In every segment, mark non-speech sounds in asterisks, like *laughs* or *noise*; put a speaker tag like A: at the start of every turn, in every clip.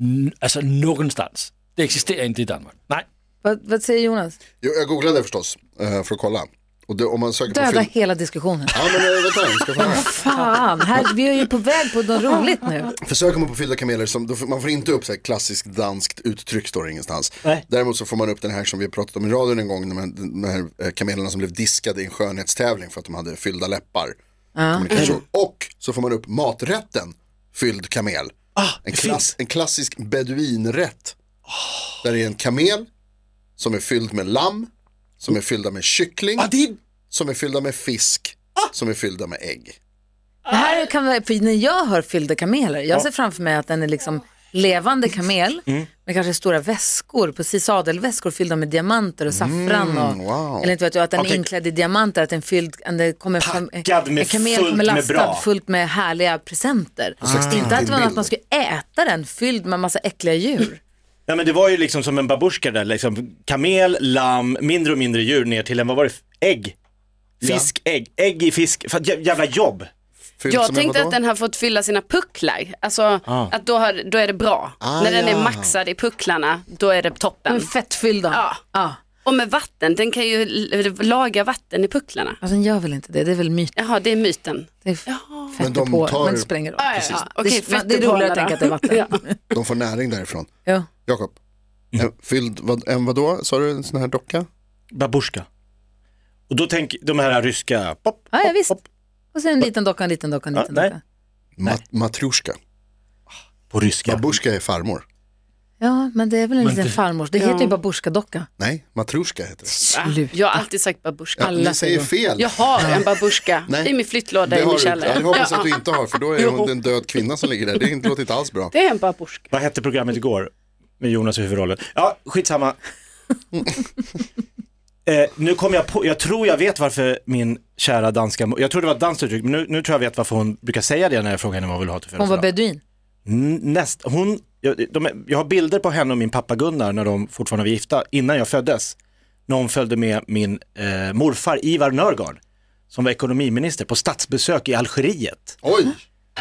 A: N- altså någonstans. Det existerer inte i Danmark. Nej.
B: Vad, vad säger Jonas?
C: Jo, jag googlade förstås eh, för att kolla. Och det, om man söker på
B: Döda
C: film...
B: hela diskussionen.
C: Ja, men eh, vänta, vi ska få höra.
B: Fan, här, vi är ju på väg på något roligt nu.
C: För söker man på fyllda kameler, som, då, får- man får inte upp så här klassiskt danskt uttryck står det ingenstans.
D: Nej.
C: Däremot så får man upp den här som vi har pratat om i radion en gång, de här, de här eh, kamelerna som blev diskade i en skönhetstävling för att de hade fyllda läppar.
E: Ah.
C: Kommunikation. Och så får man upp maträtten, fylld kamel. en,
D: Ah, det
C: klass,
D: finns.
C: en klassisk beduinrätt. Där det är en kamel som är fylld med lamm, som är fyllda med kyckling,
D: Ah, det är... Ah!
C: som är fyllda med fisk, som är fyllda med ägg.
B: Det här kan vara, för när jag hör fyllda kameler, jag ser framför mig att den är liksom levande kamel
D: Mm.
B: med kanske stora väskor, precis sadelväskor fyllda med diamanter och saffran. Och,
C: wow.
B: Eller inte vet jag, att den
D: Mm, Okej.
B: är inklädd i diamanter, att den, fylld, att den kommer fram-
D: Packad med
B: en kamel
D: fullt
B: kommer
D: med
B: lastad
D: bra. Ah.
B: fullt med härliga presenter.
C: slags
B: Inte att det var
C: Tintin-bild.
B: att man skulle äta den fylld med massa äckliga djur.
D: Ja men det var ju liksom som en babusjka där, liksom kamel, lamm, mindre och mindre djur ner till en, vad var det, ägg? Fisk, ägg, ägg i fisk, fan, jä- jävla jobb.
C: Fylld
E: Jag
C: som en
E: tänkte
C: vadå?
E: att den har fått fylla sina pucklar. Alltså
B: Ah.
D: Ah.
E: att då, har, då är det bra.
C: Ah,
E: När den
C: ja.
E: är maxad i pucklarna, då är det
B: De är
E: toppen.
B: fettfyllda.
E: Ja.
B: Ja.
E: Och med vatten, den kan ju l- laga vatten i pucklarna.
B: Alltså den gör väl inte det, det är väl myt.
E: Jaha, det är myten.
B: Det är f-
C: Men de
B: på,
C: tar-
B: men det spränger upp.
E: Ja, ja, ja. Okej,
B: det, det är roligare att tänka att det är vatten.
E: Ja.
C: De får näring därifrån.
B: Ja.
C: Jakob, en fylld, vad, en vadå, sa du, en sån här docka?
D: Babusjka. Och då tänk, de här ryska, pop,
B: Ja, ja, visst. Och sen en liten docka, en liten docka, en
D: Ja,
B: liten
D: nej.
B: docka.
C: Mat, matrusjka.
D: på ryska.
C: Babusjka är farmor.
B: Ja, men det är väl en liten
A: det-
B: farmors. Det heter ju babusjkadocka.
C: Nej, matrusjka heter det.
E: *laughs*
B: Sluta.
E: Jag har alltid sagt babusjka.
C: Ja,
B: Alla
C: ni säger
B: säger-
C: fel.
E: Jag har en babusjka
C: Nej.
E: i min flyttlåda i
C: har
E: min
C: du inte.
E: källare.
C: Jag hoppas att du
E: Ja.
C: inte har, för då är hon en död kvinna som ligger där. Det är inte- låter inte alls bra.
E: Det är en babusjka.
D: Vad hette programmet igår? Med Jonas i huvudrollen. Ja,
B: *laughs*
D: skitsamma. eh, nu kom jag på, jag tror jag vet varför min kära danska, mo- jag tror det var ett danskt uttryck, men nu, nu tror jag vet varför hon brukar säga det när jag frågar henne vad hon vill ha till
B: Hon var
D: födelsedag.
B: beduin.
D: N- Näst, hon, jag, de, är- jag har bilder på henne och min pappa Gunnar när de fortfarande var gifta, innan jag föddes. När hon följde med min eh, morfar Ivar Nörgaard, som var ekonomiminister, på statsbesök i Algeriet.
C: Oj,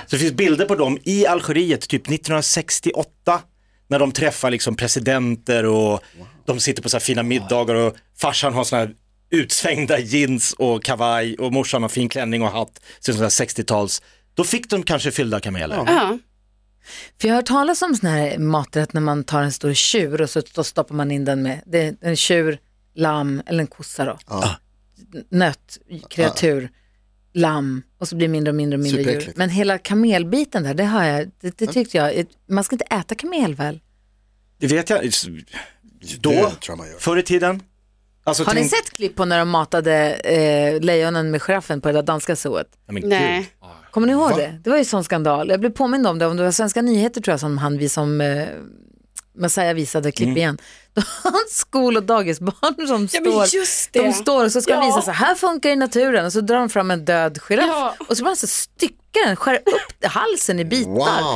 D: Så det finns bilder på dem i Algeriet typ 1968 när de träffar liksom presidenter och de sitter på så här fina middagar och farsan har såna här utsvängda jeans och kavaj och morsan har fin klänning och hatt, så sån här 60-tals. Då fick de kanske fyllda kameler.
E: Ja.
B: För jag har hört talas om sån här maträtt när man tar en stor tjur och så då stoppar man in den med, det är en tjur, lamm eller en kossa då. nöt, kreatur, lamm och så blir det mindre och mindre och mindre djur.
C: Superäckligt.
B: Men hela kamelbiten där, det har jag, det, det tyckte jag, man ska inte äta kamel väl?
D: Det vet jag.
C: Det
D: Då,
C: tror jag man gör.
D: förr i tiden. Alltså,
B: Har ni
D: tänk-
B: sett klipp på när de matade eh, lejonen med giraffen på det där danska zooet?
D: Nej, men gud.
E: Nej.
B: Kommer ni ihåg det? Det var ju sån skandal. Jag blev påmind om det, om det var Svenska nyheter tror jag som han vi som eh, Messiah visade klipp igen. *laughs* Då har han skol och dagisbarn som
E: Ja, men
B: står,
E: just det.
B: de står och så ska de
E: Ja.
B: visa så här funkar i naturen och så drar de fram en död giraff
E: Ja.
B: och så bara så styckar den, skär upp halsen i bitar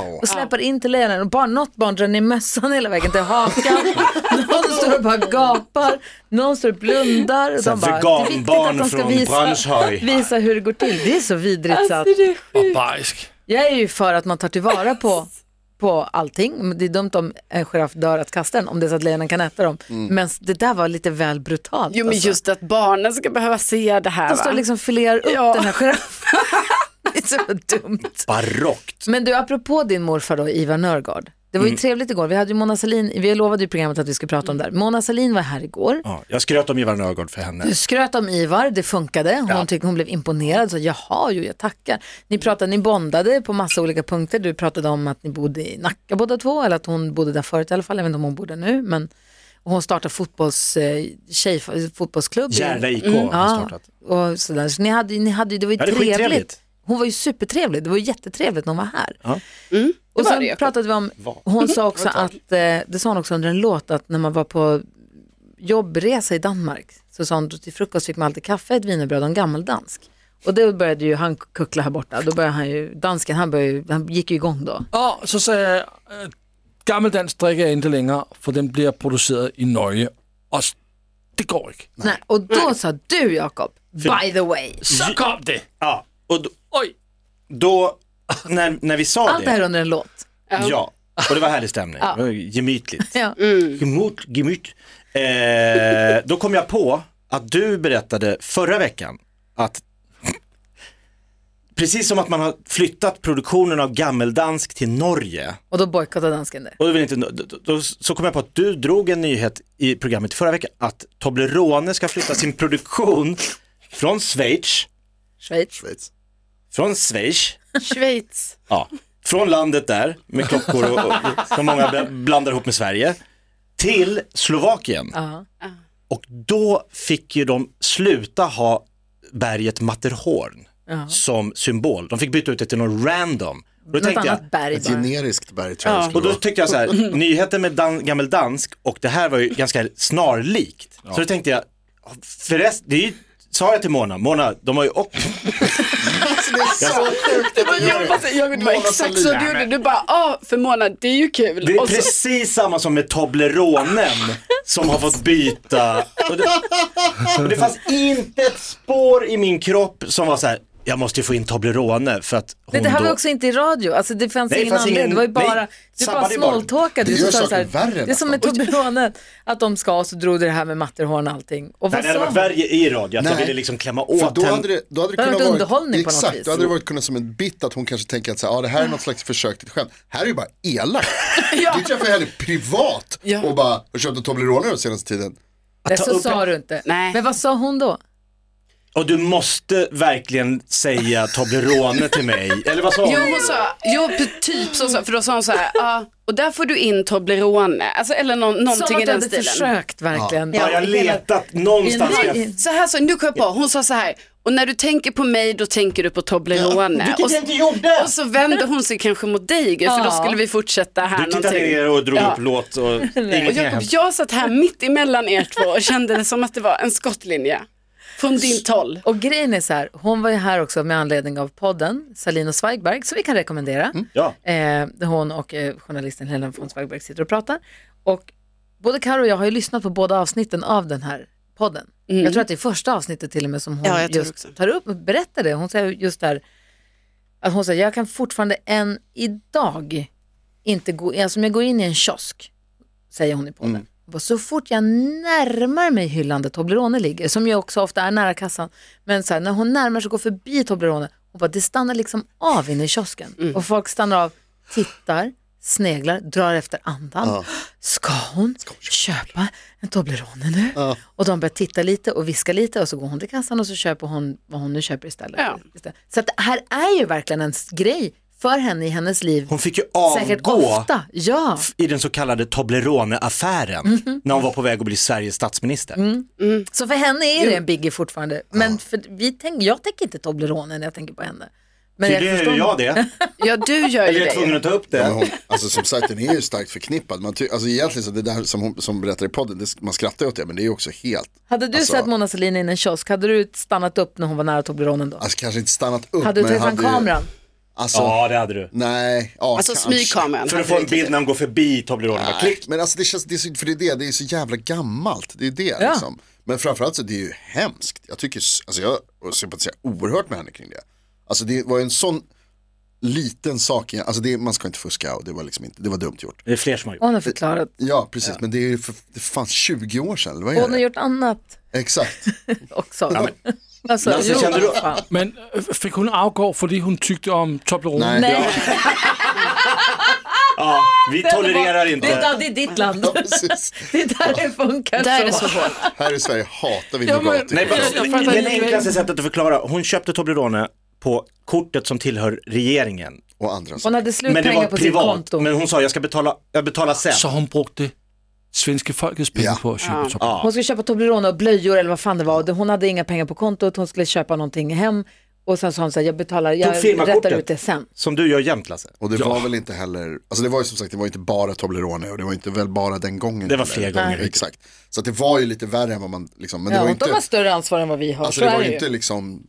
C: Wow.
B: och släpar in till lejonen och barn, något barn drar ner mössan hela vägen till
E: *laughs*
B: hakan, någon står och bara gapar, någon står och blundar. Och
D: Så här
B: de bara, det är viktigt att de
D: veganbarn
B: ska
D: från
B: visa,
D: Branschhaj.
B: *laughs* visa hur det går till. Det är så vidrigt så att
E: Alltså, det är sjukt.
A: Barbarisk.
B: jag är ju för att man tar tillvara på, på allting. Men Det är dumt om en giraff dör att kasta den, om det är så att lejonen kan äta dem.
D: Mm.
B: Men det där var lite väl brutalt.
E: Jo men
B: alltså.
E: just att barnen ska behöva se det här
B: De står
E: va?
B: och liksom filerar upp
E: Ja.
B: den här giraffen.
E: *laughs*
B: det är så dumt.
D: Barockt.
B: Men du, apropå din morfar då, Ivar Nörgaard. Det
D: Mm.
B: var ju trevligt igår. Vi hade ju Mona Sahlin, vi lovade ju programmet att vi skulle prata om det här. Mona Sahlin var här igår.
D: Ja, jag skröt om Ivar Nörgård för henne.
B: Du skröt om Ivar, det funkade. Hon,
D: Ja. Mm.
B: tyckte, hon blev imponerad. Så, Jaha, jo, jag tackar. Ni pratade, ni bondade på massa olika punkter. Du pratade om att ni bodde i Nacka båda två, eller att hon bodde där förut i alla fall. Jag vet inte om hon bor där nu. Men och hon startade fotbolls, eh, tjej, fotbollsklubb.
D: Järna IK har
B: Mm. Ja,
D: startat.
B: och sådär. Så ni hade, ju- ni hade, ju- det var ju
D: Ja, det är
B: trevligt.
D: skittrevligt.
B: Hon var ju supertrevlig. Det var ju jättetrevligt när hon var här. Och
E: var
B: sen
E: Mm. det, Jakob. Mm.
B: pratade vi om, hon sa också att, eh, det sa hon också under en låt, att när man var på jobbresa i Danmark så sa hon då till frukost fick man alltid kaffe, ett wienerbröd och en gammeldansk. Och då började ju han kuckla här borta, då började han ju, dansken, han, började, ju- han gick ju igång då.
A: Og så sagde jeg, øh, gammeldansk drikker jeg ikke længere, for den bliver produceret i Norge. Og s- det går ikke.
B: Nej. Och då sa du Jakob, by the way,
A: Så kom det!
D: Ja, och då,
A: Oj!
D: då när, när vi sa
B: allt det
D: det.
B: här under en låt.
D: Ja, och det var härlig stämning. Det var Gemytligt.
B: Ja.
E: Mm.
D: Gemyt, gemyt. Eh, då kom jag på att du berättade förra veckan att precis som att man har flyttat produktionen av gammeldansk till Norge
B: Och då bojkottade dansken det.
D: och då vill inte, då, då, så kom jag på att du drog en nyhet i programmet förra veckan att Toblerone ska flytta sin produktion från Schweiz,
B: Schweiz.
C: Schweiz.
D: från Schweiz
E: Schweiz.
D: Ja, från landet där med klockor och, och som många bla- blandar ihop med Sverige till Slovakien.
B: Ja.
D: Och då fick ju de sluta ha berget Matterhorn som symbol. De fick byta ut det till någon random. Och Då
B: Något
D: tänkte jag,
B: annat berg
C: Ett
B: bara.
C: generiskt berg tror jag det
D: och
C: skulle
D: då
C: vara.
D: tyckte jag så *laughs* här, nyheten med dan, gammal dansk och det här var ju ganska snarlikt. Så då tänkte jag, förresten, det är ju, sa jag till Mona, Mona, de har ju också,
C: Alltså, det är så sjukt.
E: Det var jag, fast jag det var
C: Mona
E: exakt så
C: Sahlin.
E: du gjorde. Du bara, ah för Mona, det är ju kul.
D: Det är
E: Och så-
D: precis samma som med Tobleronen som har fått byta. Och det, och det fanns inte ett spår i min kropp som var så här, jag måste ju få in Toblerone för att hon
B: Nej, det här
D: då...
B: var också inte i radio, alltså det fanns
D: Nej, det
B: ingen
D: fanns
B: anledning.
D: ingen-
B: det var ju bara,
D: nej,
B: du bara
D: sabbade bara.
B: snåltåkade.
C: Det
B: Du sa
C: gör
B: så här,
C: saken värre
B: Det är som med
C: nästan.
D: *laughs*
B: Toblerone, att de ska och så drog det här med Matterhorn och allting. Och vad
D: Nej, det hade
B: sa
D: varit
B: han?
D: värre i radio, att jag
C: Nej.
D: ville liksom klämma
C: För
D: åt
C: då
D: henne.
C: hade det, då hade
B: Det
C: det
B: hade varit
C: kunnat vara
B: underhållning på något
C: exakt,
B: vis.
C: då hade det varit kunnat som en bit att hon kanske tänker att så här, ah, det här är något slags försök till ett skämt. Här är ju bara elakt. Du träffade henne privat
E: Ja.
C: och bara och köpte Toblerone den senaste tiden.
B: Nej,
D: ta
B: så
D: upp-
B: sa du inte.
E: Nej.
B: Men vad sa hon då?
D: Och du måste verkligen säga Toblerone till mig. Eller vad sa
E: Jo,
D: hon?
E: hon sa, jo, typ så, sa- för då sa hon så här, ah, och där får du in Toblerone, alltså, eller nå-
B: Som
E: någonting
B: att
E: i
B: du
E: den
B: hade
E: stilen.
B: försökt verkligen.
D: Har jag letat någonstans? ska jag-
E: Nej, så här sa nu kom jag på, hon sa så här, och när du tänker på mig då tänker du på Toblerone.
D: Vilket
E: och,
D: jag inte gjorde!
E: och så vände hon sig kanske mot dig, för då
B: Ja.
E: skulle vi fortsätta här
D: Du tittade ner och drog
E: Ja.
D: upp låt och
E: Och
D: ingenting har
E: Jakob,
D: hänt.
E: jag satt här mitt emellan er två och kände det som att det var en skottlinje från ditt håll.
B: Och grejen är så här, hon var ju här också med anledning av podden Salin och Zweigbergk som vi kan rekommendera.
D: Ja.
B: Eh, där hon och eh, journalisten Helena von Zweigbergk sitter och pratar. Och både Karo och jag har ju lyssnat på båda avsnitten av den här podden. Jag tror att det är första avsnittet till och med som hon
E: Mm. Ja, jag tror också.
B: just tar upp och berättar det. Hon säger just där att hon säger jag kan fortfarande än idag inte gå, alltså om jag går in i en kiosk, säger hon i podden. Hon bara, Så fort jag närmar mig hyllan där Toblerone ligger, som ju också ofta är nära kassan, men så här, när hon närmar sig och går Mm. förbi Toblerone, hon bara, det stannar liksom av inne i kiosken. Och folk stannar av, tittar, sneglar, drar efter andan. Ska hon köpa en Toblerone nu? Och de börjar titta lite och viska lite och så går hon till kassan och så köper hon vad hon nu köper istället.
E: Ja.
B: Istället. Så att det här är ju verkligen en s- grej för henne i hennes liv.
D: Hon fick ju
B: Säkert
D: avgå
B: ofta, ja.
D: i den så kallade Toblerone-affären när hon var på väg att bli Sveriges statsminister.
B: Så för henne är det en biggie fortfarande. Men för vi tänk, jag tänker inte Toblerone när jag tänker på henne. Men
D: Tydligen gör
B: förstår-
D: jag det.
B: *laughs*
E: Ja, du gör ju
D: Eller jag är tvungen
E: det.
D: att ta upp
C: Ja, men
D: det.
C: hon, alltså som sagt den är ju starkt förknippad. Man ty, alltså egentligen så det där som hon som berättar i podden, det, man skrattar ju åt det men det är ju också helt,
B: Hade du
C: Alltså-
B: sett Mona Sahlin i en kiosk, hade du stannat upp när hon var nära Tobleronen då?
C: alltså kanske inte stannat upp.
B: hade du
C: men
B: tagit fram
C: ju-
B: kameran?
C: Alltså,
D: Ja, det hade du.
C: nej. Ja,
E: Alltså
C: kanske.
E: smygkameran.
D: För att få en bild när hon går förbi Toblerone. Bara
C: Nej,
D: klick.
C: Men alltså det känns, det är, så- för det är det, det är så jävla gammalt. Det är det
B: Ja.
C: liksom. Men framförallt så det är ju hemskt. Jag tycker, s- alltså jag sympatiserar oerhört med henne kring det. Alltså det var ju en sån liten sak, igen. alltså det, man ska inte fuska och det var liksom inte, det var dumt gjort.
D: Det är fler som har gjort.
B: Hon har förklarat.
C: Ja, precis, men det är ju för, det fanns 20 år sedan, eller vad
B: Och
C: är
B: hon har
C: det?
B: gjort annat *laughs*
C: Exakt.
B: också. *laughs* alltså,
D: Lasse,
B: jo,
D: kände du-
B: fan.
A: Men øh, fik hun afgå, fordi hun tygte om Toblerone?
C: Nej.
B: *laughs* Nej,
D: Ja, vi tolererar
B: det,
D: inte.
B: är- det är ditt land.
C: Ja, precis.
B: Det är där det funkar.
E: Där är det så hårt.
C: Här i Sverige hatar vi
A: Ja, men-
C: nougat.
D: Nej,
A: Jag- jag fattar
D: men, men
A: inte.
D: enklaste sättet att förklara. Hon köpte Toblerone på kortet som tillhör regeringen.
C: och andra saker.
B: Hon hade slut
D: Men det
B: pengar
D: var
B: på sitt
D: privat.
B: konto.
D: Men hon sa jag ska betala, jag betalar sen.
A: Så hun brugte svenske folkets penge
C: Ja.
A: på at købe Toblerone.
B: Hon skulle köpa Toblerone och blöjor eller vad fan det var. Och det- Hon hade inga pengar på kontot, hon skulle köpa någonting hem. Och sen sa hon så här, jag betalar, jag
D: Tog firmakortet.
B: rättar ut det sen.
D: Som du gör jämt Lasse.
C: Och det var väl inte heller, alltså det var ju som sagt, det var ju inte bara Toblerone och det var inte väl bara den gången.
D: Det var
C: heller.
D: fler gånger.
C: Exakt. Så att det var ju lite värre än vad man, liksom, men det
B: Ja,
C: var ju
B: De har
C: inte,
B: större ansvar än vad vi har.
C: alltså
B: Så
C: det
B: är
C: var
B: det
C: ju
B: ju.
C: inte liksom, sp-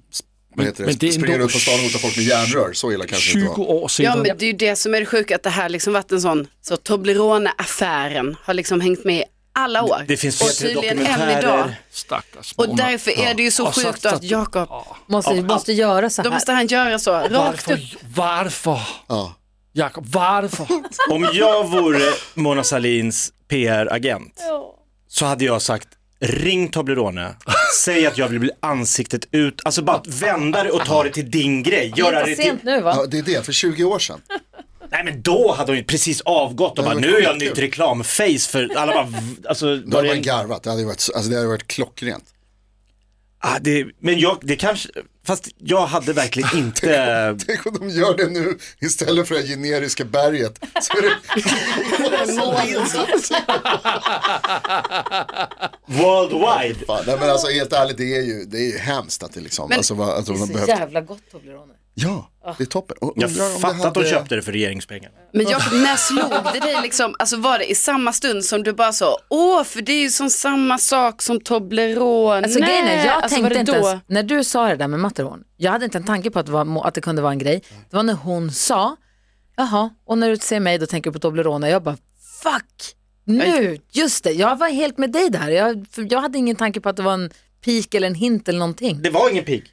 C: vad heter
A: men det
C: det,
A: är
C: springer
A: ändå-
C: runt på stan och hotar folk med järnrör, så illa kanske det
A: 20
C: inte var.
A: år
E: Ja,
A: senere.
E: men det är ju det som är det sjuka, att det här liksom varit en sån, så Toblerone-affären har liksom hängt med i alla år.
D: Det finns
E: och
D: bättre
E: tydligen än
D: dokumentärer.
E: idag.
A: Stakkers
E: Och
A: Mona.
E: därför är det ju så
A: Och så-
E: sjukt då att Jakob,
B: Måste, måste göra så här.
E: då måste han göra så, rakt upp.
A: Varför? Varför?
C: Ja.
A: Jakob, varför?
D: Om jag vore Mona Salins PR-agent så hade jag sagt ring Toblerone, säg att jag vill bli ansiktet ut, alltså bara att vända det och ta det till din grej.
B: det är
D: Göra det
B: lite
D: till...
B: sent nu va?
C: Ja, det är det, för 20 år sedan.
D: Nej men då hade hon ju precis avgått och bara
C: men
D: nu är jag
C: skitkul."
D: nytt reklamface för alla bara, v- alltså,
C: Då
D: var
C: hade
D: det
C: man
D: en...
C: garvat, det hade ju varit, alltså det hade varit klockrent. *laughs*
D: ah, det, men jag, det kanske, fast jag
C: *laughs*
D: hade verkligen inte,
C: Tänk om de gör det nu istället för det här generiska berget. Så är det,
D: worldwide,
C: fan, nej men alltså helt ärligt, det är ju, det är ju hemskt att det liksom, alltså, vad, att de
B: Det är så
C: behövt-
B: jävla Ah. gott Toblerone.
C: Ja, det är toppen. Och
D: jag
C: undrar om det
D: fattar att hon
C: hade-
D: köpte det för regeringspengar.
E: Men Jakob, när slog det dig liksom, alltså var det i samma stund som du bara så, åh, för det är ju som samma sak som Toblerone.
B: Alltså, grejen är, jag
E: Alltså, var
B: tänkte
E: det
B: inte
E: då?
B: ens, när du sa det där med Matterhorn, jag hade inte en tanke på att det, var, må- att det kunde vara en grej. Det var när hon sa, jaha, och när du ser mig då tänker du på Toblerone. Jag bara, fuck, nu, just det, jag var helt med dig där. Jag, för jag hade ingen tanke på att det var en pik eller en hint eller någonting.
D: Det var ingen pik.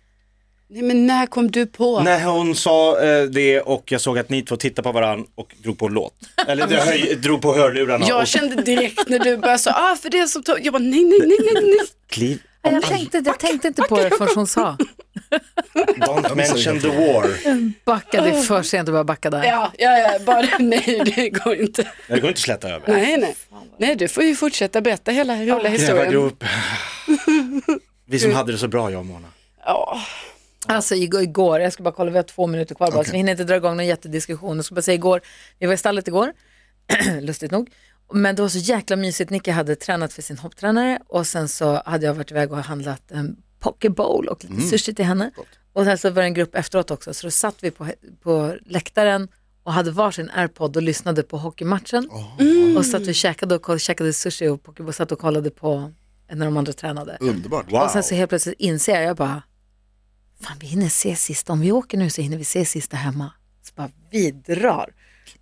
E: Nej men när kom du på?
D: När hon sa eh, det och jag såg att ni två tittade på varandra och drog på en låt. Eller det höj, drog på hörlurarna.
E: Jag
D: och
E: kände direkt när du började så, ah för det är som Toblerone, jag bara nej, nej, nej, nej, nej.
D: kliv.
B: Nej, Jag tänkte, jag tänkte inte på det förrän hon sa.
D: Don't mention the war.
C: *clears throat*
B: Backade för sent och började backa där.
E: Ja, ja, ja, bara *laughs* det, nej det går inte.
D: Det går inte att släta över.
E: Nej, nej. Nej, du får ju fortsätta berätta hela roliga historien. *laughs*
D: Grävargrop. Vi som hade det så bra jag och Mona.
E: Ja.
B: Alltså igår, igår, jag ska bara kolla, vi har två minuter kvar bara, så
C: Okej.
B: vi hinner inte dra igång någon jättediskussion. Jag ska bara säga igår, vi var i stallet igår, *clears throat* lustigt nog. Men det var så jäkla mysigt, Nicky hade tränat för sin hopptränare och sen så hade jag varit iväg och handlat en poke bowl och lite sushi till henne. Och sen så var det en grupp efteråt också, så då satt vi på, på läktaren och hade varsin airpod och lyssnade på hockeymatchen. Och satt och käkade, och koll- käkade sushi och poke bowl, satt och kollade på när de andra tränade.
C: Underbart.
D: Wow.
B: Och sen så helt plötsligt inser jag, jag bara, fan vi hinner se sista, om vi åker nu så hinner vi se sista hemma. Så bara vi drar.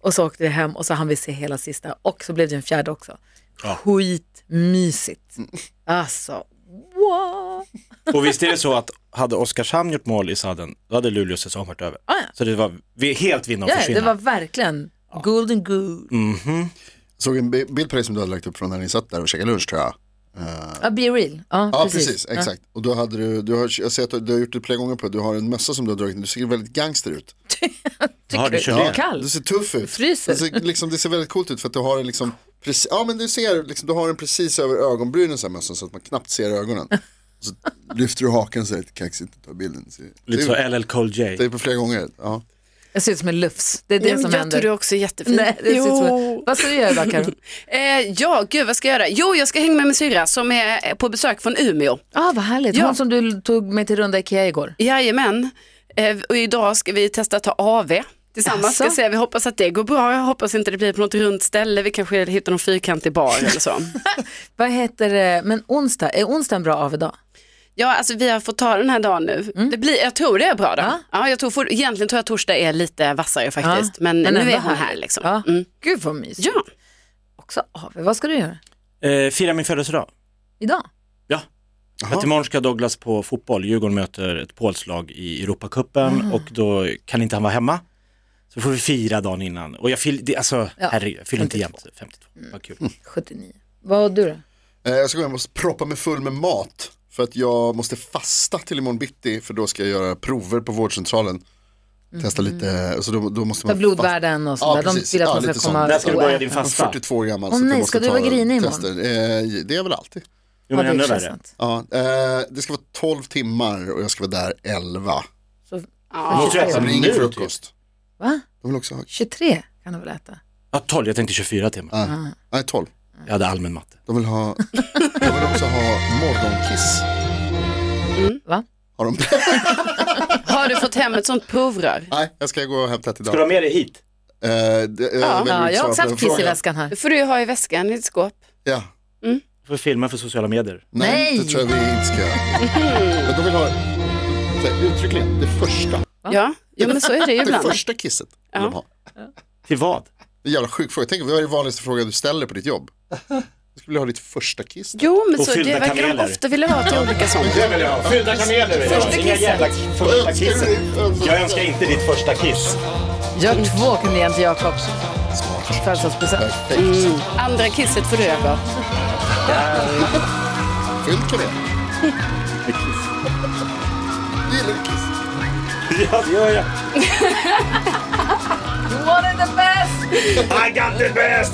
B: Och så åkte vi hem och så hann vi se hela sista och så blev det en fjärde också. Skitmysigt.
D: Mm.
B: Alltså, wow.
D: Och visst är det så att hade Oskarshamn gjort mål i sudden, då hade Luleås säsong varit över.
B: Ah, ja.
D: Så det var vi, helt vinna och
B: Ja, det
D: försvinna.
B: var verkligen golden good.
D: Mm.
C: Såg en bi- bild på dig som du hade lagt upp från när ni satt där och käkade lunch tror jag.
B: Ja, be real. Ja,
C: Ja, precis. exakt. Och då hade du, du har, jag ser att du, du har gjort det flera gånger på, du har en mössa som du har dragit, du ser väldigt gangster ut.
D: Ja, du kör
B: Ja.
D: det.
B: Kall.
C: Du ser tuff ut.
B: Fryser.
C: Det ser, liksom, det ser väldigt coolt ut för att du har en liksom, precis, ja men du ser, liksom, du har den precis över ögonbrynen så här mössan så att man knappt ser
B: *laughs*
C: ögonen. Och så lyfter du haken så här lite kaxigt och tar bilden. Det ser-
D: Lite
C: det,
D: så LL Cool J.
C: det är på flera gånger. Ja.
B: Jag ser ut som en lufs. Det är det
E: Nej, men
B: som
E: jag
B: händer.
E: tror du också är jättefin.
B: Nej, det ser ut som en...
E: Jo.
B: Vad ska du göra idag, Karo?
E: *laughs* Eh, ja, gud vad ska jag göra? Jo, jag ska hänga med min syrra som är eh, på besök från Umeå.
B: Ah, vad härligt.
E: Ja.
B: Hon som du tog mig till runda Ikea igår.
E: Jajamän, eh, och idag ska vi testa att ta AV tillsammans.
B: Jaså?
E: Ska se. Vi hoppas att det går bra, jag hoppas inte det blir på något runt ställe, vi kanske hittar någon fyrkantig bar eller så.
B: Vad heter det? Men onsdag, är onsdag en bra av idag? Mm.
E: Ja, alltså vi har fått ta den här dagen nu. Det blir, jag tror det är bra då. Ja. jag tror for, egentligen tror jag torsdag är lite vassare faktiskt,
B: Ja,
E: men, nu
B: ändå
E: är hon här liksom.
B: Ja.
E: Mm.
B: Gud vad mysigt.
E: Ja.
B: Också av. Vad ska du göra
D: Eh, fira min födelsedag.
B: idag?
D: Ja. Att imorgon ska Douglas på fotboll. Djurgården möter ett polskt lag i Europacupen och då kan inte han vara hemma. Så får vi fira dagen innan. Och jag fyller, det- alltså,
B: Ja, Mm.
D: herregud, jag fyller inte jämnt 52. Vad kul.
B: 79. Vad du då?
C: Eh, Jag ska gå hem och proppa mig full med mat. För att jag måste fasta till imorgon bitti för då ska jag göra prover på vårdcentralen. Testa lite, eh, så då, då
B: Mm. Ta
C: måste man
B: blodvärden och sådär.
C: Ja,
B: De
C: precis.
B: vill att
C: Ja,
B: man ska
C: lite
B: komma
C: sånt.
D: När ska du
B: och
D: börja
B: äta.
D: din
C: Jag är
D: fasta?
C: 42 år gammal.
B: Åh
C: så att jag
B: nej,
C: måste
B: ska du
C: ta
B: vara grinig imorgon?
C: tester. Eh, det är väl alltid.
D: Jo,
B: Ja,
D: men
B: det är
D: ännu värre.
B: stressant.
C: Ja, eh, det ska vara 12 timmar och jag ska vara där 11.
B: Så,
D: Måste du
C: Så
D: äta
C: det blir ingen
D: nu? Typ.
C: frukost.
B: va?
C: De vill också ha,
B: 23 kan du väl äta?
D: Ja, 12, jag tänkte 24 timmar.
C: nej,
B: Ah.
C: nej 12.
D: Jag hade allmän matte.
C: De vill ha,
B: *laughs*
C: de vill också ha morgonkiss.
B: Mm. Va? *laughs*
C: Har de,
E: Har du fått hem ett sånt provrör?
C: nej, jag ska gå och hämta ett idag.
D: Ska du ha med dig hit?
C: Eh, det, jag väljer
B: Ja,
C: att
B: jag har
C: svara
B: också haft
C: på den
B: kiss i
C: frågan.
B: väskan här.
E: Det får du ju ha i väskan i ett skåp.
C: Ja.
D: Du får filma för sociala medier.
C: Nej,
B: Nej.
C: det tror jag vi inte ska göra. Men de vill ha så här, uttryckligen det första.
E: Ja, ja men så är det ju
C: *laughs* Det
E: ibland.
C: första kisset vill de ha.
D: Till vad?
C: Det är en jävla sjuk fråga. Tänk, vad är det vanligaste frågan du ställer på ditt jobb? Jag skulle vilja ha ditt första kiss.
E: Jo, men
D: Och
E: så det
D: fyllda
E: verkar de
D: kameler.
E: ofta vilja ha till olika sånt.
D: Fyllda kameler.
E: Första Inga jävla
D: första
C: Alltså.
D: Jag önskar inte ditt första kiss.
B: Gör två kan du ge till Jakob. Födelsedagspresent.
C: Perfekt.
E: Mm. Andra kisset får du över.
C: Fylld
E: *laughs*
C: kanel. Du gillar kiss.
D: Ja, det gör
B: You
D: jag.
B: wanted the best!
D: I got the best!